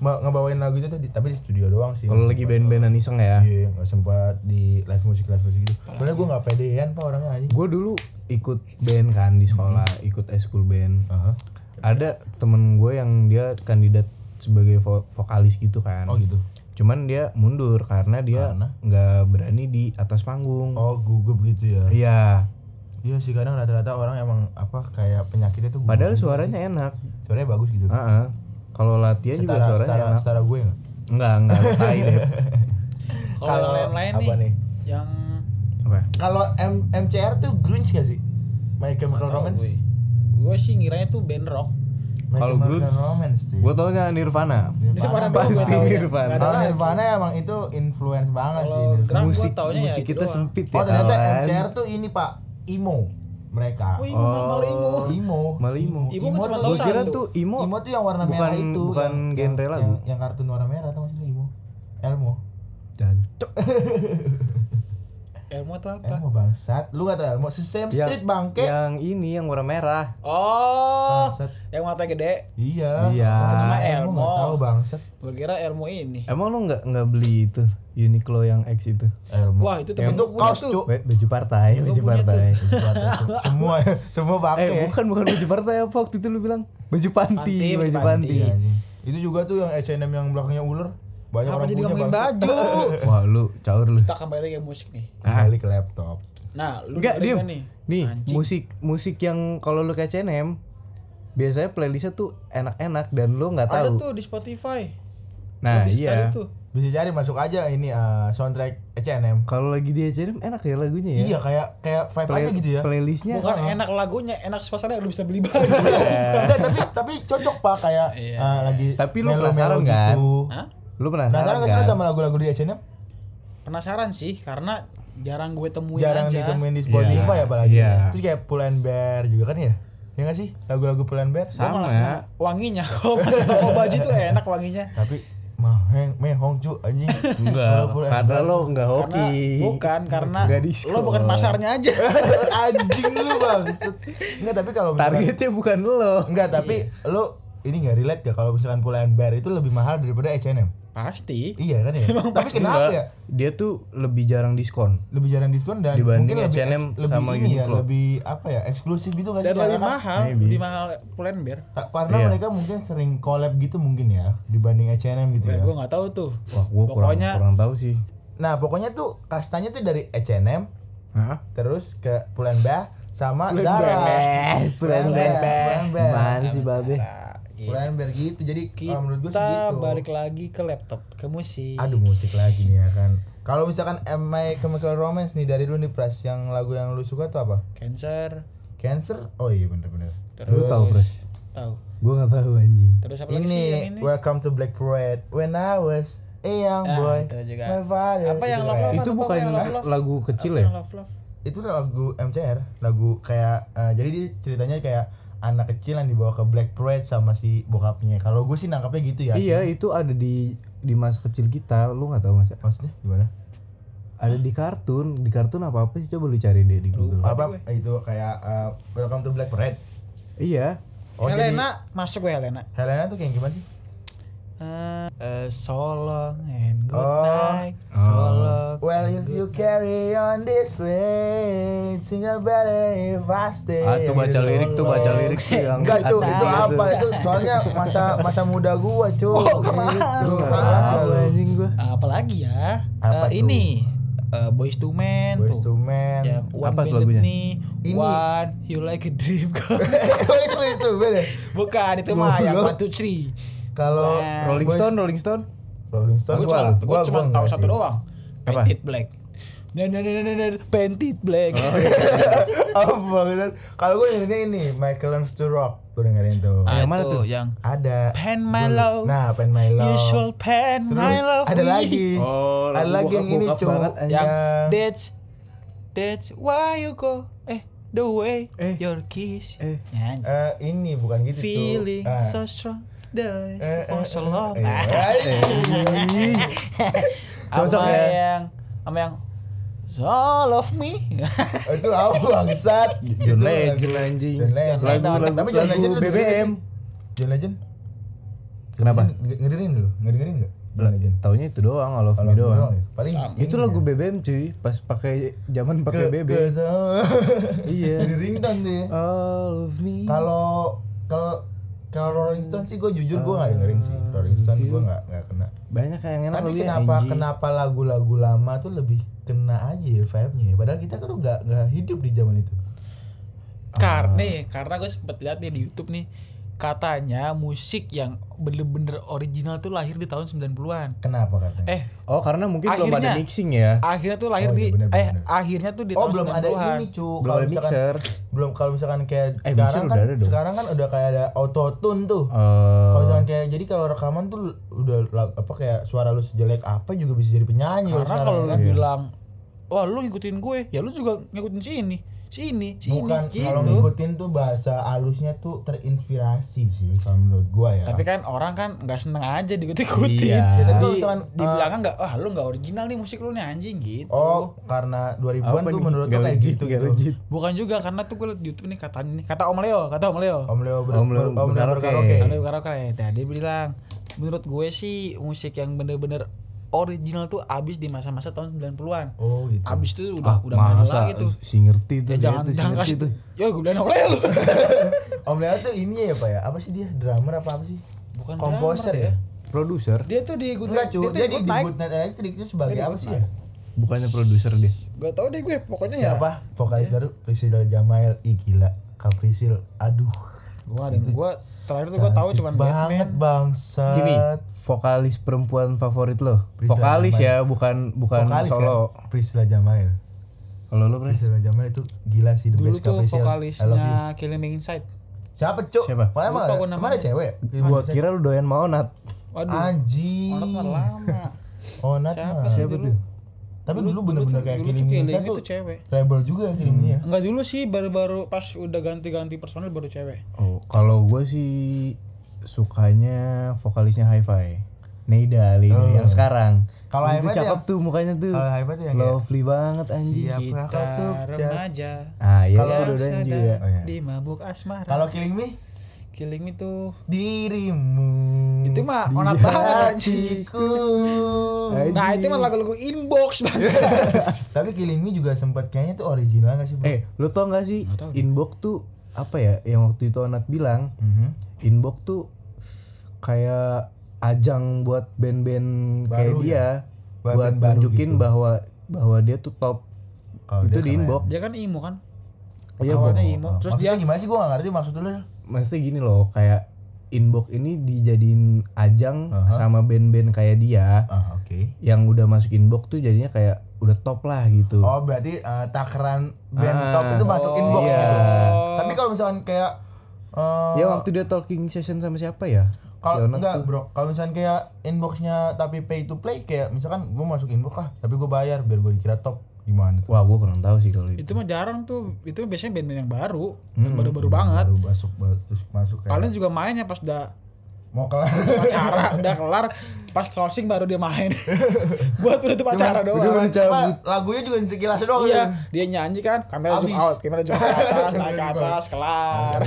S2: Mau ngebawain lagu itu tuh di, tapi di studio doang sih.
S1: Kalau lagi band-bandan iseng ya.
S2: Iya, nggak sempat di live musik live musik gitu. Soalnya gue nggak pedean pak orangnya anjing.
S1: Gue dulu ikut band kan di sekolah,
S2: Hmm.
S1: ikut eskul band.
S2: Aha.
S1: Ada temen gue yang dia kandidat sebagai vo- vokalis gitu kan.
S2: Oh gitu.
S1: Cuman dia mundur karena dia
S2: Karena?
S1: nggak berani di atas panggung.
S2: Oh gugup gitu ya.
S1: Iya.
S2: Iya sih kadang rata-rata orang emang apa kayak penyakitnya tuh
S1: Padahal
S2: gua-
S1: suaranya enak.
S2: gitu suaranya bagus gitu.
S1: Heeh. Kalau latihan juga
S2: setara
S1: suaranya
S2: setara,
S1: enak.
S2: setara gue enggak?
S1: Enggak, enggak tai deh.
S3: Kalau yang lain
S2: apa
S3: nih,
S2: nih?
S3: yang
S1: Apa?
S2: Kalau M MCR tuh grunge gak sih? My Chemical Romance.
S3: gue. Gue sih ngiranya tuh band rock.
S2: My
S1: Kalau
S2: Chemical
S1: grunge,
S2: Romance sih.
S1: Gue tau gak Nirvana?
S2: Nirvana
S3: Nirvana
S2: bagus.
S3: gua
S1: Pasti
S3: tahu ya.
S1: Nirvana.
S3: Nggak
S2: Kalau
S3: ada lagi.
S2: Nirvana emang itu influence banget sih
S3: Kalau
S2: Nirvana.
S3: Gram gua
S1: musik
S3: taunya ya
S1: musik
S3: gitu
S1: kita
S3: doang.
S1: sempit ya
S2: Oh ternyata
S1: kawan.
S2: MCR tuh ini Pak emo mereka.
S3: Wih, gue
S1: Oh.
S3: malah emo.
S2: Imo.
S1: Malimo.
S3: Ibu kan
S2: Imo
S3: cuma
S2: tuh-
S3: tahu
S1: Gue kira
S3: satu.
S1: tuh Imo.
S2: Imo tuh yang warna
S1: bukan-
S2: merah itu.
S1: bukan
S2: yang-
S1: genre
S2: yang,
S1: lagu.
S2: Yang, yang kartun warna merah tau gak sih lu Imo? Elmo.
S1: Jancok.
S3: Elmo tuh apa?
S2: Elmo Eh, bangsat. Lu gak tau Elmo? Si Sam
S1: Yang-
S2: Street bangke.
S1: Yang ini yang warna merah.
S3: Oh,
S2: Bangsat.
S3: yang mata gede.
S2: Iya.
S1: Iya.
S2: Nama
S3: Elmo.
S2: Elmo. Gak tau bangsat.
S3: Gue kira Elmo ini.
S1: Emang lu nggak nggak beli itu Uniqlo yang X itu?
S2: Elmo.
S3: Wah, itu temen
S2: itu
S3: gue punya
S2: kaos
S3: tuh.
S2: cuk.
S1: Ba- Baju partai, baju partai.
S2: semua semua bangke.
S1: Eh bukan bukan baju partai apa waktu itu lu bilang baju panti,
S3: Panti,
S1: baju
S3: baju
S1: panti.
S2: Iya, anjing. itu juga tuh yang H&M yang belakangnya ular. Banyak
S3: Apa
S2: orang
S3: jadi
S2: punya
S3: ngomongin
S2: bangsat.
S3: baju?
S1: Wah lu caur lu.
S3: Kita kembali lagi ke musik nih.
S2: Kembali ke laptop.
S3: Nah, lu
S1: Enggak
S3: dengerin
S1: diem.
S3: nggak
S1: Nih,
S3: Anjing.
S1: musik musik yang kalau lu ke CNM biasanya playlistnya tuh enak-enak dan lu nggak
S3: Ada
S1: tahu.
S3: tuh di Spotify.
S1: Nah
S3: Bisa cari
S1: iya.
S3: tuh.
S2: Bisa cari masuk aja ini eh, soundtrack H&M.
S1: Kalau lagi di CNM enak ya lagunya ya.
S2: Iya kayak kayak vibe
S1: Play-
S2: aja gitu ya.
S1: Playlistnya.
S3: Bukan enak lagunya, enak suasana lu bisa beli baju.
S2: Enggak, tapi tapi cocok Pak kayak
S3: Iya.
S2: eh, lagi
S1: Tapi lu
S2: melo-melo
S1: penasaran kan?
S2: gitu.
S3: Hah?
S1: Lu
S2: Penasaran
S1: penasaran
S2: gak sih lu
S1: kan?
S2: sama lagu-lagu di H&M?
S3: Penasaran sih karena jarang gue temuin
S2: Jarang
S3: aja.
S2: ditemuin di Spotify
S1: Iya.
S2: apalagi.
S1: Iya.
S2: Terus kayak Pull and Bear juga kan ya? Ya gak sih? Lagu-lagu Pull and Bear.
S1: Sa-
S3: Gue malah
S1: Sama.
S3: senang wanginya. Kalau masih toko baju tuh enak wanginya.
S2: Tapi maheng mehong cu anjing.
S1: Enggak.
S2: Kalau Pull and
S1: Karena
S2: Bear.
S1: lo nggak
S3: Karena
S1: hoki.
S3: bukan karena
S1: Nggak diskon.
S3: lo bukan pasarnya aja.
S2: anjing lu maksud. Enggak, tapi kalau misalkan-
S1: Targetnya bukan lo.
S2: Enggak, tapi
S3: Iya.
S2: lu ini nggak relate gak kalau misalkan Pull and Bear itu lebih mahal daripada H&M?
S3: Pasti.
S2: Iya kan ya? tapi
S1: Enggak,
S2: kenapa ya?
S1: Dia tuh lebih jarang diskon.
S2: Lebih jarang diskon dan
S1: Dibanding
S2: mungkin lebih
S1: H&M
S2: eks- lebih
S1: sama
S2: ini ya,
S1: Uniqlo.
S2: lebih apa ya? Eksklusif gitu kan
S3: Dan lebih
S2: karena-
S3: mahal,
S1: iya, Maybe.
S3: lebih mahal pulen beer.
S2: ta- karena
S1: Iya.
S2: mereka mungkin sering collab gitu mungkin ya dibanding H&M gitu ya.
S3: Gue nggak tahu tuh.
S1: Wah, gua kurang
S3: Pokoknya-
S1: kurang tahu sih.
S2: Nah, pokoknya tuh kastanya tuh dari H&M
S1: Hah?
S2: terus ke Pull and Bear sama
S1: Pull and
S2: Zara. Eh,
S1: Bear, Pull and Bear.
S2: Pull and Bear.
S1: Man sih babe.
S2: Pull and Bear gitu. Jadi kalau menurut gue sih
S3: Kita
S2: gitu.
S3: balik lagi ke laptop, ke musik.
S2: Aduh musik lagi nih ya kan. Kalau misalkan My Chemical Romance nih dari lu nih Pras yang lagu yang lu suka tuh apa?
S3: Cancer,
S2: Cancer? Oh iya bener-bener.
S1: Lu tahu, Pres?
S3: tahu.
S1: Gua nggak tahu anjing.
S3: Terus apa lagi sih yang
S2: Ini,
S3: ini?
S2: Welcome to Black Parade. When I was a young
S3: Ah,
S2: boy,
S3: itu juga.
S2: my father.
S3: Apa yang
S2: itu,
S3: lama?
S2: kayak-
S1: Itu
S3: apa,
S1: bukan
S3: yang love, love?
S1: lagu kecil
S3: Apa
S1: ya?
S3: yang Love, love.
S2: itu lagu MCR, lagu kayak eh, jadi dia ceritanya kayak anak kecil yang dibawa ke Black Parade sama si bokapnya. Kalau gue sih nangkapnya gitu ya.
S1: Iya, itu ada di di masa kecil kita. Lu nggak tahu masa?
S2: Maksudnya gimana?
S1: Ada di kartun, di kartun apa apa sih coba lu cari deh di Google.
S2: Apa itu kayak eh, Welcome to Black Parade.
S1: Iya.
S2: Oh,
S3: Helena, masuk gue Helena.
S2: jadi Helena tuh kayak gimana sih?
S3: Eh, eh, so long and good
S2: Oh.
S3: night. So long.
S2: Well, if you carry on this way, single better if I stay.
S1: Ah, tuh baca lirik tuh baca lirik tuh yang
S2: Enggak itu itu
S1: hati-hati gitu.
S2: apa itu soalnya masa masa muda gua cuy. Oh keras
S1: Nggak tahu anjing gua.
S3: Ah, apalagi ya?
S2: Apa
S3: Eh,
S2: tuh?
S3: ini eh, Boys to Men
S2: Boys to
S3: tuh.
S2: men.
S3: Ya, one
S1: Apa tuh
S3: Minute
S1: lagunya?
S3: Nih,
S2: Ini.
S3: One You Like a Dream
S2: Boys to men. ya?
S3: Bukan itu mah yang
S2: Goblok.
S3: one two three.
S2: Kalau
S1: Rolling
S2: boys-
S1: Stone, Rolling Stone.
S2: Rolling Stone.
S1: Gua
S2: gua-
S1: cuma-
S2: gua-
S3: Gue cuma
S2: gua
S3: tahu
S2: enggak
S3: satu
S2: sih.
S3: doang.
S1: Apa?
S3: Painted Black. Nah, nah, nah, nah, nah, nah, Painted Black.
S2: Oh, iya. Apa Oh, bener? Kalau gua dengernya ini Michael Learns to Rock. Gua dengerin tuh.
S3: Ah,
S1: Yang mana
S3: itu,
S1: tuh?
S3: Yang
S2: Ada
S3: Pen My
S2: gua-
S3: Love.
S2: Nah, Pen My Love.
S3: You should pen my
S2: Terus
S3: love.
S2: ada
S3: with-
S2: lagi.
S1: Oh,
S2: ada
S1: lagu
S2: lagi yang
S1: bokap
S2: ini
S1: bokap
S2: cuy.
S1: banget,
S2: Yang
S3: Yang that's that's why you go. Eh, the way
S1: Eh.
S3: your kiss.
S1: Eh.
S3: Ya, anjing.
S2: eh, ini bukan gitu Cuk.
S3: feeling
S2: Ah.
S3: so strong. The
S2: Eh, eh,
S3: last for so
S2: eh,
S3: long.
S2: eh,
S3: Ah.
S2: eh, eh.
S1: Cocok
S3: sama
S1: ya.
S3: yang sama yang so love me
S2: itu apa bangsat
S1: John
S2: Itu
S1: Legend
S2: lagu-
S1: anjing.
S2: John Legend.
S1: Lagu lagu,
S2: Tapi John
S1: lagu
S2: Legend lu dengerin
S1: BBM.
S2: gak sih? John Legend
S1: Kenapa?
S2: Nge- ngedengerin dulu ngedengerin nggak John Legend
S1: Taunya itu doang, All of
S2: Kalau
S1: Me
S2: aku
S1: Gitu doang.
S2: ya. paling
S1: Itu lagu BBM cuy, pas pakai zaman pakai BBM. Iya.
S2: iya ringtone sih
S1: All of me.
S2: kalau kalau kalau Rolling Stone sih gue jujur gue nggak dengerin sih Rolling Stone gue nggak nggak kena
S1: Banyak yang Eh. enak
S2: tapi
S1: lagunya,
S2: kenapa
S1: anjing.
S2: kenapa lagu-lagu lama tuh lebih kena aja ya vibe-nya ya? padahal kita tuh nggak nggak kan hidup di zaman itu Oh.
S3: Karena karena gue sempet lihat nih di YouTube nih katanya musik yang bener-bener original tuh lahir di tahun 90-an.
S4: Kenapa katanya?
S3: Eh,
S1: Oh karena mungkin belum
S3: Akhirnya-
S1: ada mixing ya.
S3: akhirnya tuh lahir
S4: Oh, iya,
S3: di
S4: bener,
S3: eh
S4: bener.
S3: akhirnya tuh di
S2: oh
S3: tahun
S2: belum ada
S3: 90-an.
S2: ini cu
S1: Belum
S2: Kalau
S1: ada
S2: misalkan-
S1: mixer.
S2: belum kalau misalkan kayak
S1: Eh, mixer
S2: sekarang
S1: udah
S2: kan
S1: ada dong.
S2: sekarang kan udah kayak ada auto tune tuh
S1: Eh,
S2: kalau misalkan kayak jadi kalau rekaman tuh udah la- apa kayak suara lu sejelek apa juga bisa jadi penyanyi
S3: Karena kalau lu
S2: kan.
S3: bilang, "Wah, lu ngikutin gue." Ya lu juga ngikutin si ini, si ini, si ini,
S2: bukan
S3: gitu.
S2: kalau ngikutin tuh bahasa halusnya tuh terinspirasi sih kalau menurut gua ya
S3: Tapi kan orang kan nggak seneng aja diikut-ikutin.
S1: Iya.
S2: Ya, tapi kalau
S3: Di,
S2: misalkan,
S3: dibilangnya nggak, "Wah, lu nggak original nih musik lu nih anjing." gitu.
S2: oh karena 2000-an
S1: apa
S2: tuh
S1: nih?
S2: menurut
S1: Gak
S2: gua kayak
S1: legit,
S2: gitu
S1: gak
S2: gitu
S1: legit.
S3: Bukan juga karena tuh gue liat di YouTube nih katanya nih, kata Om Leo, kata Om Leo.
S2: Om Leo ber-
S1: Om Leo
S2: ber- Om Leo
S1: berkaraoke.
S2: berkaraoke.
S3: Om Leo karaoke. Nah, dia bilang, "Menurut gue sih musik yang bener-bener original tuh abis di masa-masa tahun 90-an."
S2: Oh gitu.
S3: Abis
S1: Ah,
S3: itu udah udah nggak ada
S1: masa
S3: lagi tuh.
S1: si ngerti tuh
S2: Eh,
S3: Ya
S1: dia
S3: jangan
S1: tuh, si
S3: jangan
S1: ngerti
S3: kasih
S1: tuh.
S3: Ya gue bilang oleh lu.
S2: Om Leo tuh ini ya Pak ya? Apa sih dia? Drummer apa apa sih?
S3: Bukan
S2: Komposer
S3: drummer
S2: ya?
S1: Produser,
S3: Dia tuh di Good
S2: Enggak
S3: Night-
S2: cuy,
S3: tuh
S2: dia di
S3: di Good
S2: di
S3: Night.
S2: Good Night Electric itu sebagai apa sih ya?
S1: bukannya produser dia.
S3: Gak tau deh gue, pokoknya
S1: Iya.
S3: ya.
S2: Siapa? Vokalis baru Priscil Jamail. Ih gila, Kaprisil. Aduh.
S3: Gue ada gue terakhir tuh gue tahu
S2: cantik
S3: cuman
S2: banget bangsa.
S1: Gini, vokalis perempuan favorit lo.
S2: Prisa
S1: Vokalis
S2: Rahman.
S1: ya, bukan bukan solo.
S2: Kan? Priscil Jamail.
S1: Kalau lo Pres?
S2: Priscil Jamail itu gila sih the
S3: Dulu
S2: best
S3: tuh
S2: Kaprisil. I love you.
S3: vokalisnya Killing Me Inside.
S2: Siapa cuk?
S1: Siapa?
S2: Mana
S3: Lupa
S2: mana?
S3: gua
S2: Mana
S3: namanya.
S2: ada cewek?
S1: Gua kira lo doyan maonat.
S3: Waduh, orang
S2: Anjing.
S3: mah lama.
S2: Onat
S3: Siapa
S2: mah.
S3: sih dulu?
S2: Tapi dulu
S3: Dulu- dulu
S2: bener-bener
S3: tuh-
S2: kayak
S3: dulu
S2: Killing
S3: tuh
S2: Me
S3: Killing
S2: Inside
S3: Me
S2: tuh
S3: tuh cewek. Hmm.
S2: Rebel juga ya Killing Me ya.
S3: Enggak dulu sih baru-baru pas udah ganti-ganti personil baru cewek.
S1: Oh, kalau gue sih sukanya vokalisnya Hi-Fi. Neida Lina yang sekarang.
S2: Oh. Kalau
S1: Itu
S2: Hi-Fi tuh
S1: cakep
S2: yang-
S1: tuh mukanya tuh.
S2: Kalau Hi-Fi tuh yang
S1: lovely banget anjing.
S2: Siap
S3: Kita
S2: Iya, kakak tuh. Jack.
S3: remaja.
S1: Ah, iya
S2: Kalau-
S1: itu dua-duanya juga.
S2: Oh, iya.
S3: Di mabuk asmara.
S2: Kalau Killing Me
S3: Killing Me tuh
S2: dirimu
S3: itu mah
S2: di
S3: onat banget.
S2: hatiku.
S3: Nah, itu mah lagu-lagu inbox
S2: Iya.
S3: banget.
S2: Tapi Killing Me juga sempat kayaknya tuh original gak sih bro?
S1: Eh, lo tau gak sih inbox tuh apa ya? Yang waktu itu Anat bilang
S2: Mhm.
S1: inbox tuh kayak ajang buat band-band kayak
S2: Baru ya?
S1: dia
S2: Buat
S1: buat
S2: band baru
S1: nunjukin
S2: gitu.
S1: bahwa bahwa dia tuh top.
S2: Kalau
S1: itu
S2: dia
S1: di
S2: keren.
S1: inbox.
S3: Dia kan emo kan?
S1: Iya, Bo.
S3: Awalnya
S2: Oh,
S3: emo, terus
S2: Maksudnya
S3: dia
S2: gimana sih gue gak ngerti maksud lu
S1: maksudnya gini loh kayak inbox ini dijadiin ajang
S2: Aha.
S1: sama band-band kayak dia
S2: Ah oke
S1: yang udah masuk inbox tuh jadinya kayak udah top lah gitu
S2: Oh berarti eh, takaran band
S1: Ah.
S2: top itu masuk inbox
S1: iya.
S2: gitu Tapi kalau misalkan kayak eh,
S1: ya waktu dia talking session sama siapa ya
S2: kalau
S1: Leonard
S2: enggak
S1: tuh.
S2: bro kalau misalkan kayak inboxnya tapi pay to play kayak misalkan gue masuk inbox ah tapi gue bayar biar gue dikira top gimana tuh
S1: wah gua kurang tahu sih kalau itu
S3: itu mah jarang tuh itu biasanya band-band yang baru yang baru-baru banget
S2: baru masuk baru terus masuk kayak
S3: paling juga mainnya pas udah
S2: mau kelar
S3: acara udah kelar pas closing baru dia main buat penutup acara
S1: udah
S3: doang
S1: main cabut.
S2: Apa, lagunya juga sekilas doang ya
S3: iya dia nyanyi kan kamera zoom
S2: Abis.
S3: out kamera zoom ke atas naik ke atas kelar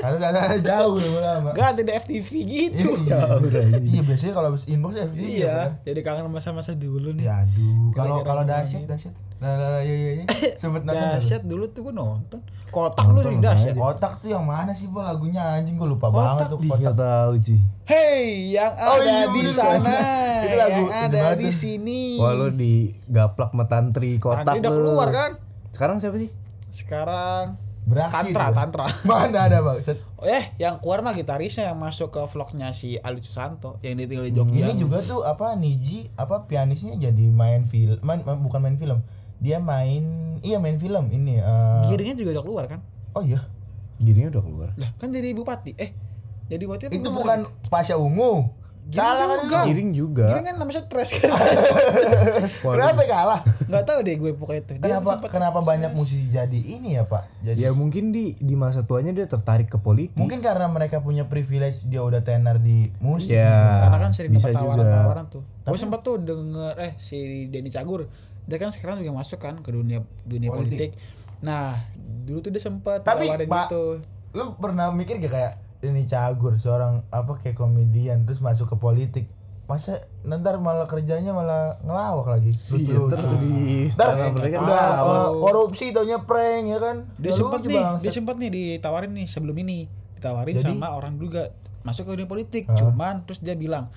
S2: karena sana jauh lebih lama
S3: gak ada FTV gitu
S2: iya biasanya kalau habis inbox ya FTV ya, Pak.
S3: iya jadi kangen masa-masa dulu
S2: ya
S3: nih
S2: aduh kalau
S3: Gara-gara
S2: kalau dahsyat dahsyat nah nah nah iya iya iya sempet nonton nggak lu?
S3: dahsyat dulu tuh gue nonton kotak lu
S1: Nonton
S3: dari dahsyat
S2: kotak tuh yang mana sih pak lagunya anjing gue lupa banget tuh
S1: nggak
S2: kotak
S1: tahu sih
S3: hey yang
S2: Oh, iya,
S3: ada di
S2: bener.
S3: sana
S2: Itu lagu
S3: yang
S2: ini
S3: ada
S2: banget
S3: di
S2: tuh.
S3: sini
S1: wah lo di gaplak metantri kotak
S3: Tadi udah
S1: lu.
S3: keluar kan
S1: sekarang siapa sih
S3: sekarang
S2: beraksi
S3: tantra
S2: tuh.
S3: tantra
S2: mana ada bang Set.
S3: Oh, eh yang keluar mah gitarisnya yang masuk ke vlognya si Ali Susanto yang dia tinggal di Jogja.
S2: ini juga tuh apa Niji apa pianisnya jadi main film main- main- bukan main film dia main iya main film ini eh,
S3: Giringnya juga udah keluar kan?
S2: oh iya
S1: girinya udah keluar
S3: Lah kan jadi bupati. Eh jadi bupati apa
S2: itu
S3: gubernur?
S2: bukan Pasha Ungu
S3: Giring
S2: salah kan
S3: juga.
S1: giring juga
S3: Giring kan namanya stres kan.
S1: Waduh.
S2: kenapa kalah
S3: Enggak tahu deh gue pokoknya itu. Dia
S2: kenapa
S3: sempet- Iya.
S2: kenapa banyak musisi jadi ini ya pak jadi
S1: ya mungkin di di masa tuanya dia tertarik ke politik
S2: mungkin karena mereka punya privilege dia udah tenar di musik
S1: ya
S3: karena kan sering
S1: bisa
S3: dapat
S1: juga.
S3: tawaran-tawaran tuh. Gue sempet tuh denger eh si Denny Cagur dia kan sekarang juga masuk kan ke dunia dunia
S2: Politik.
S3: politik. Nah, dulu tuh dia sempat
S2: Tapi,
S3: tawarin
S2: Pak,
S3: gitu.
S2: lu pernah mikir gak kayak ini cagur seorang apa kayak komedian terus masuk ke politik masa nanti malah kerjanya malah ngelawak lagi
S1: Iya,
S2: lucu
S1: ntar di
S2: Ntar
S1: istana mereka
S2: udah
S1: ah,
S2: eh, korupsi taunya prank ya kan
S3: dia
S2: Udah
S3: sempat
S2: lucu,
S3: nih
S2: Bang.
S3: dia sempat nih ditawarin nih sebelum ini ditawarin
S2: Jadi? Ah.
S3: sama orang juga masuk ke dunia politik
S2: Hah?
S3: cuman terus dia bilang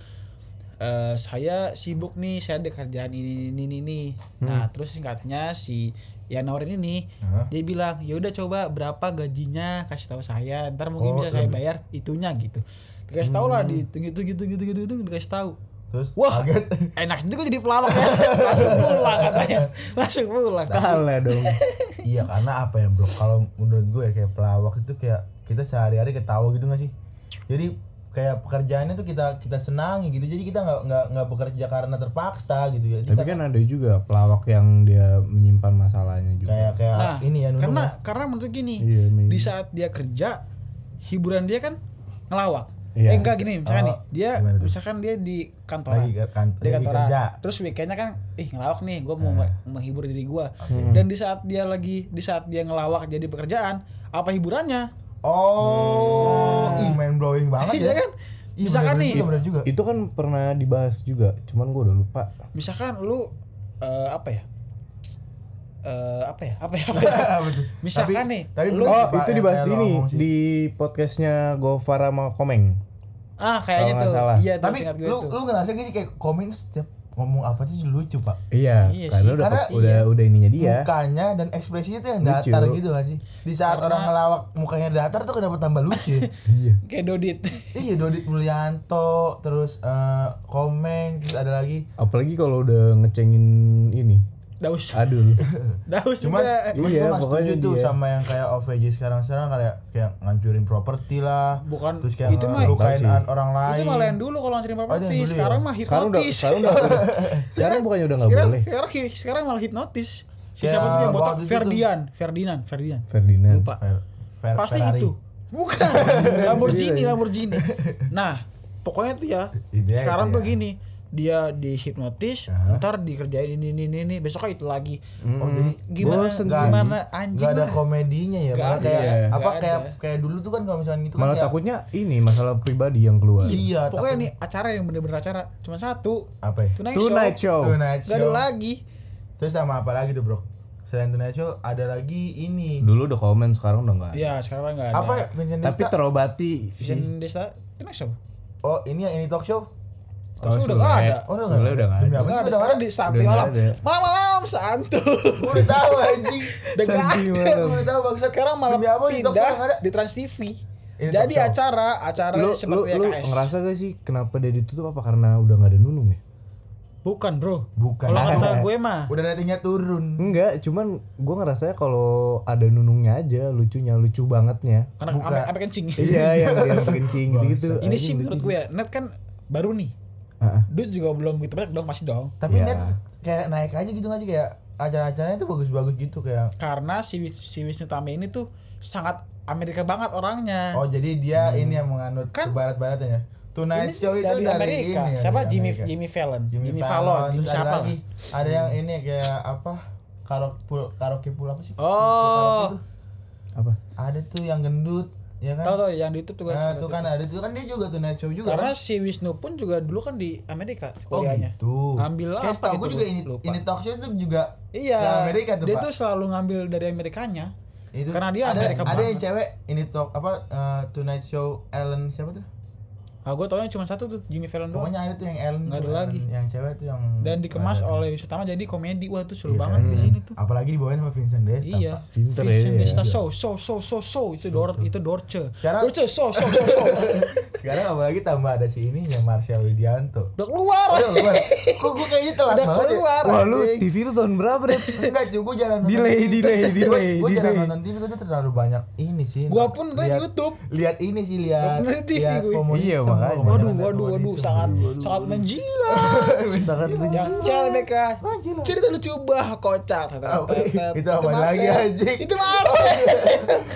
S2: Hmm.
S3: "Eh, saya sibuk nih saya ada kerjaan ini ini ini, ini." nah terus singkatnya si yang nawarin ini
S2: Hah?
S3: dia bilang ya udah coba berapa gajinya kasih tahu saya ntar
S2: Oh,
S3: mungkin bisa saya bayar itunya gitu dikasih tahu lah dihitung gitu gitu gitu gitu gitu dikasih tahu
S2: Terus
S3: wah
S2: kaget.
S3: enak juga jadi pelawak ya langsung pulang katanya langsung pulang
S1: kalah dong
S2: iya karena apa ya bro? Kalau menurut gue ya, kayak pelawak itu kayak kita sehari-hari ketawa gitu gak sih? Jadi kayak pekerjaannya tuh kita kita senangi gitu. Jadi kita nggak nggak nggak bekerja karena terpaksa gitu ya. Jadi
S1: tapi kan ada juga pelawak yang dia menyimpan masalahnya juga
S2: kayak kayak
S3: nah
S2: ini ya Nunung
S3: karena
S2: ya.
S3: karena menurut gini
S1: Iya, maybe.
S3: di saat dia kerja hiburan dia kan ngelawak
S1: Iya.
S3: eh enggak gini
S2: Oh,
S3: misalkan nih dia
S2: gimana tuh?
S3: misalkan dia di kantoran
S2: lagi ke kantor,
S3: di
S2: lagi
S3: kantoran
S2: kerja. Nah.
S3: terus weekendnya kan ih ngelawak nih gue mau menghibur diri gue dan di saat dia lagi di saat dia ngelawak jadi pekerjaan apa hiburannya
S2: Oh, ih, mind blowing banget ya.
S3: Iya kan?
S2: Iya,
S3: Misalkan
S2: bener-bener
S3: nih.
S2: juga, bener juga.
S1: itu kan pernah dibahas juga cuman gue udah lupa
S3: misalkan lu eh, apa ya Eh, apa ya apa ya, apa ya?
S2: Betul.
S3: misalkan nih
S2: tapi belum
S3: lu
S1: oh
S2: Pak,
S1: itu
S2: yang
S1: dibahas
S2: kayak
S1: di
S2: lo
S1: ini
S2: ya, ngomong sih.
S1: di podcastnya Gofar sama Komeng
S3: ah kayaknya
S1: Kalau nggak
S3: tuh
S1: salah.
S3: iya tuh
S2: Tapi
S3: seingat gue
S2: lu
S3: tuh.
S2: lu ngerasa gak sih kayak komen setiap ngomong apa sih lucu, Pak?
S1: iya,
S3: Iya
S1: karena
S3: sih.
S1: udah
S2: Karena
S1: udah udah ininya dia
S2: Mukanya dan ekspresinya tuh yang
S1: Iya. Lucu.
S2: datar gitu gak sih? Di saat orang ngelawak mukanya datar tuh kenapa tambah lucu ya?
S1: iya
S3: kayak dodit
S2: Iya, Dodit Mulyanto, terus eh, Komeng, terus ada lagi
S1: apalagi kalau udah ngecengin ini
S3: daus
S1: adul
S3: daus
S2: cuman
S3: juga Eh,
S2: cuman
S1: Iya,
S2: gua nggak
S1: pokoknya
S2: setuju tuh
S1: dia.
S2: sama yang kayak OVJ sekarang sekarang kayak kayak ngancurin properti lah
S3: Bukan,
S2: terus kayak
S3: kan itu mah-
S2: ngelukain
S1: Tahu sih.
S2: an- orang lain
S3: itu malah yang dulu kalau sering
S2: Oh, itu yang
S3: properti
S2: dulu ya?
S3: sekarang mah
S1: sekarang udah
S3: hipnotis
S1: sekarang udah, udah- sekarang bukannya udah nggak
S3: sekarang,
S1: boleh
S3: sekarang, sekarang malah hipnotis si
S2: Kayak
S3: siapa tuh yang botak
S2: waktu itu tuh.
S3: Ferdian Ferdinand Ferdinand
S1: Ferdinand
S3: lupa
S2: Fer- Fer-
S3: pasti
S2: Ferrari.
S3: itu bukan Lamborghini Lamborghini nah pokoknya tuh ya
S2: Idealnya
S3: sekarang
S2: itu
S3: tuh
S2: ya.
S3: gini dia dihipnotis ntar dikerjain ini ini ini, ini besoknya itu lagi
S2: oh jadi
S3: Hmm. gimana
S1: Bosen
S2: sih.
S3: gimana
S2: nggak
S3: anjing
S2: ada
S3: lah.
S2: komedinya ya
S3: Nggak
S2: malah
S3: ada,
S2: kayak
S1: iya.
S2: apa
S3: Nggak
S2: kayak
S3: ada.
S2: kayak dulu tuh kan kalau misalnya gitu kan
S1: malah
S2: kayak,
S1: takutnya ini masalah pribadi yang keluar
S2: iya
S3: pokoknya
S2: takut-
S3: nih acara yang bener-bener acara cuma satu
S2: apa ya
S3: tonight,
S1: tonight
S3: show,
S1: show
S2: Tonight
S3: Nggak ada
S2: Show.
S3: lagi
S2: terus sama apa lagi tuh bro selain Tonight Show ada lagi ini
S1: dulu udah komen sekarang udah nggak ada.
S3: ya sekarang nggak ada
S2: apa ya Vincent
S1: tapi
S2: Desta?
S1: terobati
S3: Vision Desta tonight show
S2: oh ini yang ini talk show
S3: Terus udah nggak ada.
S2: Oh, udah nggak
S1: Sule
S2: ada.
S1: udah nggak ada.
S2: Demi apa?
S3: Nggak ada
S2: udah ada.
S3: sekarang
S2: ya?
S3: di Sabtu
S1: Udah
S3: malam
S1: nggak ada.
S3: malam malam santu
S2: Gua udah tahu anjing
S3: Udah nggak
S1: Sedih
S3: ada.
S1: banget.
S2: Gua udah tahu bangsa
S3: sekarang malah
S2: Demi apa di talk show nggak ada
S3: pindah di Trans TV
S2: Ini
S3: jadi
S2: talk show.
S3: acara acara
S1: lu lu,
S3: seperti
S1: lu
S3: YKS.
S1: ngerasa gak sih kenapa dia ditutup apa karena udah nggak ada nunung ya
S3: bukan bro
S2: Bukan.
S3: kalau kata gue mah
S2: udah ratingnya turun
S1: enggak cuman gue ngerasanya kalau ada nunungnya aja lucunya lucu bangetnya
S3: karena
S2: Bukan.
S3: ame ame kencing
S1: iya yang yang kencing gitu gitu
S3: ini sih menurut gue ya net kan baru nih
S1: Ah,
S3: duit juga belum gitu banyak dong masih dong
S2: tapi
S1: Iya.
S2: net kayak naik aja gitu nggak sih kayak acara-acaranya tuh bagus-bagus gitu kayak
S3: karena si Wis- si Wisnu Tame ini tuh sangat Amerika banget orangnya
S2: oh jadi dia ini yang menganut ke
S3: Kan-
S2: barat-baratan ya Tonight Show itu
S3: dari
S2: dari,
S3: Amerika
S2: ini ya,
S3: siapa
S2: dari
S3: Jimmy
S2: Amerika.
S3: Jimmy Fallon
S2: Jimmy,
S3: Jimmy
S2: Fallon,
S3: Fallon Jimmy
S2: terus ada
S3: siapa
S2: lagi ada yang ini kayak apa karaoke pool karaoke pool apa sih Pool
S3: Oh.
S2: karaoke tuh.
S1: apa
S2: ada tuh yang gendut ya kan
S3: tau tau yang di YouTube tuh
S2: nah,
S3: kan
S2: tuh kan ada tuh kan dia juga tuh night show juga
S3: karena
S2: kan?
S3: si Wisnu pun juga dulu kan di Amerika
S2: oh
S3: kuliahnya
S2: gitu
S3: Ambil lah
S2: kayak
S3: apa
S2: tau
S3: gitu,
S2: gue juga
S3: gua
S2: ini
S3: lupa.
S2: ini talk show tuh juga
S3: Iya.
S2: ke Amerika tuh
S3: dia
S2: pak
S3: tuh selalu ngambil dari Amerikanya.
S2: itu
S3: karena dia
S2: ada
S3: Amerika
S2: ada yang
S3: banget.
S2: cewek ini talk apa eh, tonight show Ellen siapa tuh
S3: Ah, gue taunya cuma satu tuh, Jimmy Fallon doang.
S2: pokoknya ada tuh yang Ellen
S3: Nggak
S2: tuh,
S3: ada
S2: Ellen,
S3: lagi.
S2: yang cewek tuh yang
S3: Dan dikemas
S2: Ada.
S3: oleh Wisnu Tama jadi komedi. Wah, itu seru
S2: Iya,
S3: banget
S2: kan?
S3: di sini tuh.
S2: apalagi dibawain sama Vincent Desta
S3: Iya.
S2: Pak.
S1: Pinter ya,
S3: Vincent
S1: iya.
S3: Desta show, show, show, show, show itu Dor itu Dorce.
S2: Sekarang-
S3: Dorce show, show, show, show.
S2: sekarang apalagi tambah ada si ini yang Marcel Widianto
S3: Udah keluar.
S2: Aduh, gua, kok gue kayaknya telat
S3: Udah
S2: banget ya?
S3: keluar,
S1: wah lu
S2: Anjing.
S1: TV lu tahun berapa Red?
S2: Enggak cuy, gue jarang nonton
S1: Delay,
S2: TV.
S1: delay,
S2: Gua-
S1: delay,
S2: Gua jarang
S1: delay.
S2: nonton TV, gue tuh terlalu banyak ini sih
S3: Gua pun tadi
S2: Lihat-
S3: YouTube.
S2: Lihat ini sih,
S3: Gak
S2: lihat
S3: pernah di TV
S2: lihat
S3: gue.
S2: komunisme,
S1: Iya, makanya.
S2: gua kebanyakan
S3: Waduh,
S2: lihat
S3: waduh, waduh,
S2: komunisme.
S3: sangat sangat menjilat.
S1: sangat
S2: Iya.
S3: Yang cel mereka.
S2: gila.
S3: Cerita lucu bah kocak. Tet,
S2: Oh,
S3: tet, tet.
S2: itu apa lagi,
S3: Marcel.
S2: anjing? Oh, iya.
S3: Itu Marcel.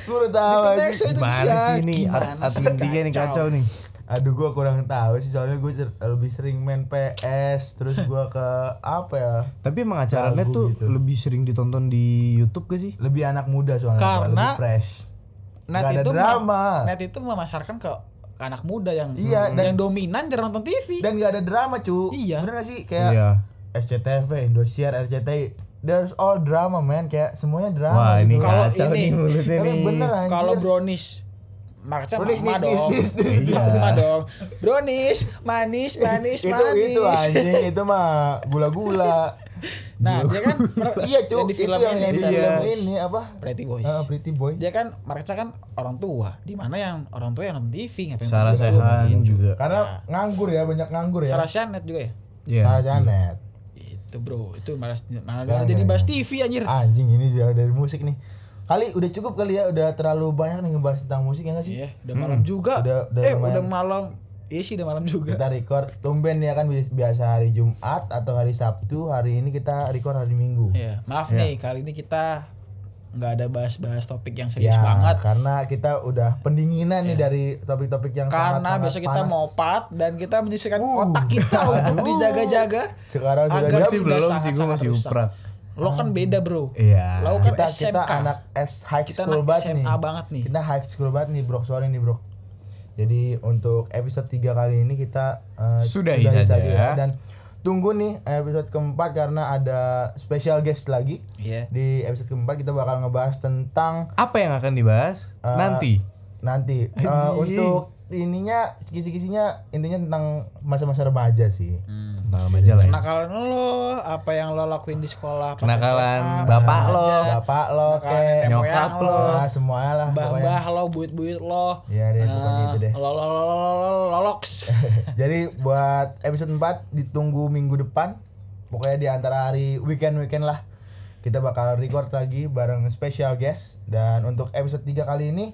S2: Gue udah tahu
S3: Itu
S2: anjing.
S3: Marcel, itu
S1: gimana
S3: dia.
S1: sih ini
S3: Gimana
S1: Ad-
S3: sih?
S1: admin dia nih kacau nih
S2: Aduh gue kurang tahu sih soalnya gue lebih sering main PS terus gue ke apa ya
S1: tapi emang acaranya
S2: Lagu
S1: tuh
S2: gitu.
S1: lebih sering ditonton di YouTube gak sih
S2: lebih anak muda soalnya Pak,
S3: Karena
S2: lebih fresh
S3: Net
S2: Gak ada
S3: itu
S2: drama.
S3: mem- Net itu memasarkan ke ke anak muda yang Hmm.
S2: Iya, dan-
S3: yang dominan jarang nonton TV.
S2: dan gak ada drama cu
S3: Iya.
S2: bener gak sih kayak SCTV Indosiar RCTI there's all drama man kayak semuanya
S1: wah
S2: drama
S1: ini
S2: gitu.
S3: Kalau
S1: kacau
S3: ini-
S1: nih mulutnya
S2: tapi
S1: nih
S2: bener anjir
S3: Kalau Brownies Marketnya
S2: Brownies,
S3: mama
S2: nis,
S3: dong.
S2: nis, nis, nis.
S1: Iya.
S3: Mama dong. Brownies, manis, manis,
S2: itu
S3: manis.
S2: itu anjing itu mah gula-gula
S3: Nah, dia kan mer-
S2: iya cuy
S3: yang di
S2: itu
S3: film
S2: yang
S3: ini,
S2: yang di
S3: yang
S2: film
S3: di-
S2: ini apa
S3: Pretty Boys.
S2: Ah, Pretty Boy
S3: Dia kan mereka kan orang tua, di mana yang orang tua yang nonton TV ngapain?
S1: Sarah Sehan juga.
S2: karena nganggur ya banyak nganggur ya
S3: Sarah Shanet juga ya.
S2: Sarah
S1: Iya.
S2: Janet
S3: Itu bro, itu malas malah jadi bahas TV anjir.
S2: anjing ini dia dari musik nih kali udah cukup kali ya udah terlalu banyak nih ngebahas tentang musik ya nggak sih
S3: Iya, udah malam juga.
S2: Udah- udah
S3: eh,
S2: lumayan.
S3: udah malam. Iya sih udah malam juga.
S2: kita record tumben ya kan bi- biasa hari Jumat atau hari Sabtu hari ini kita record hari Minggu
S3: Iya, maaf nih kali ini kita nggak ada bahas-bahas topik yang serius
S2: ya
S3: banget. Iya.
S2: karena kita udah pendinginan nih dari topik-topik yang
S3: Karena
S2: sangat-sangat
S3: besok kita
S2: panas. Uh.
S3: mopat dan kita menyisikan otak kita untuk dijaga-jaga.
S2: sekarang sudah
S3: Agar
S2: jam-
S1: Masih
S3: udah
S1: belum sih,
S3: sangat-sangat
S1: gua masih
S3: rusak.
S1: uprak.
S3: Lo kan beda, Bro.
S1: Iya.
S3: Lo kan
S2: kita
S3: SMK.
S2: kita anak S high
S3: Kita
S2: school
S3: anak
S2: banget
S3: SMA
S2: nih.
S3: banget nih.
S2: Kita high school banget nih, Bro. Sorry nih, Bro. Jadi untuk episode 3 kali ini kita eh,
S1: Sudahi saja.
S3: ya.
S2: dan tunggu nih episode keempat karena ada special guest lagi.
S3: Iya.
S2: Di episode keempat kita bakal ngebahas tentang eh,
S1: Apa yang akan dibahas nanti?
S2: nanti eh, untuk ininya kisi-kisinya intinya tentang masa-masa remaja sih.
S1: Tentang aja lah ya.
S3: Kenakalan lo, apa yang lo lakuin di sekolah? pas
S1: Kenakalan
S3: SMA,
S1: bapak
S3: apa
S1: lo.
S3: aja,
S2: Bapak lo
S3: Kenakalan
S2: kayak
S1: Nyokap
S3: moyang
S1: lo.
S2: semuanya Ah, lah pokoknya.
S3: Bah-bah lo, buit-buit lo.
S2: Iya, deh, pokoknya itu deh.
S3: Eh, lo- lo- lo- lo- lo- Loloks.
S2: Jadi buat episode 4 ditunggu minggu depan. Pokoknya di antara hari weekend-weekend lah. Kita bakal record lagi bareng special guest dan untuk episode 3 kali ini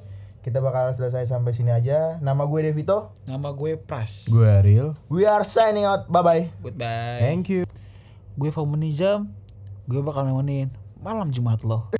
S2: kita bakal selesai sampai sini aja. Nama gue Devito.
S3: Nama gue Pras.
S1: Gue Ariel.
S2: We are signing out. Bye bye.
S3: Goodbye.
S2: Eh?
S1: Thank you.
S3: Gue Faumenizam. Gue bakal nemenin malam Jumat lo.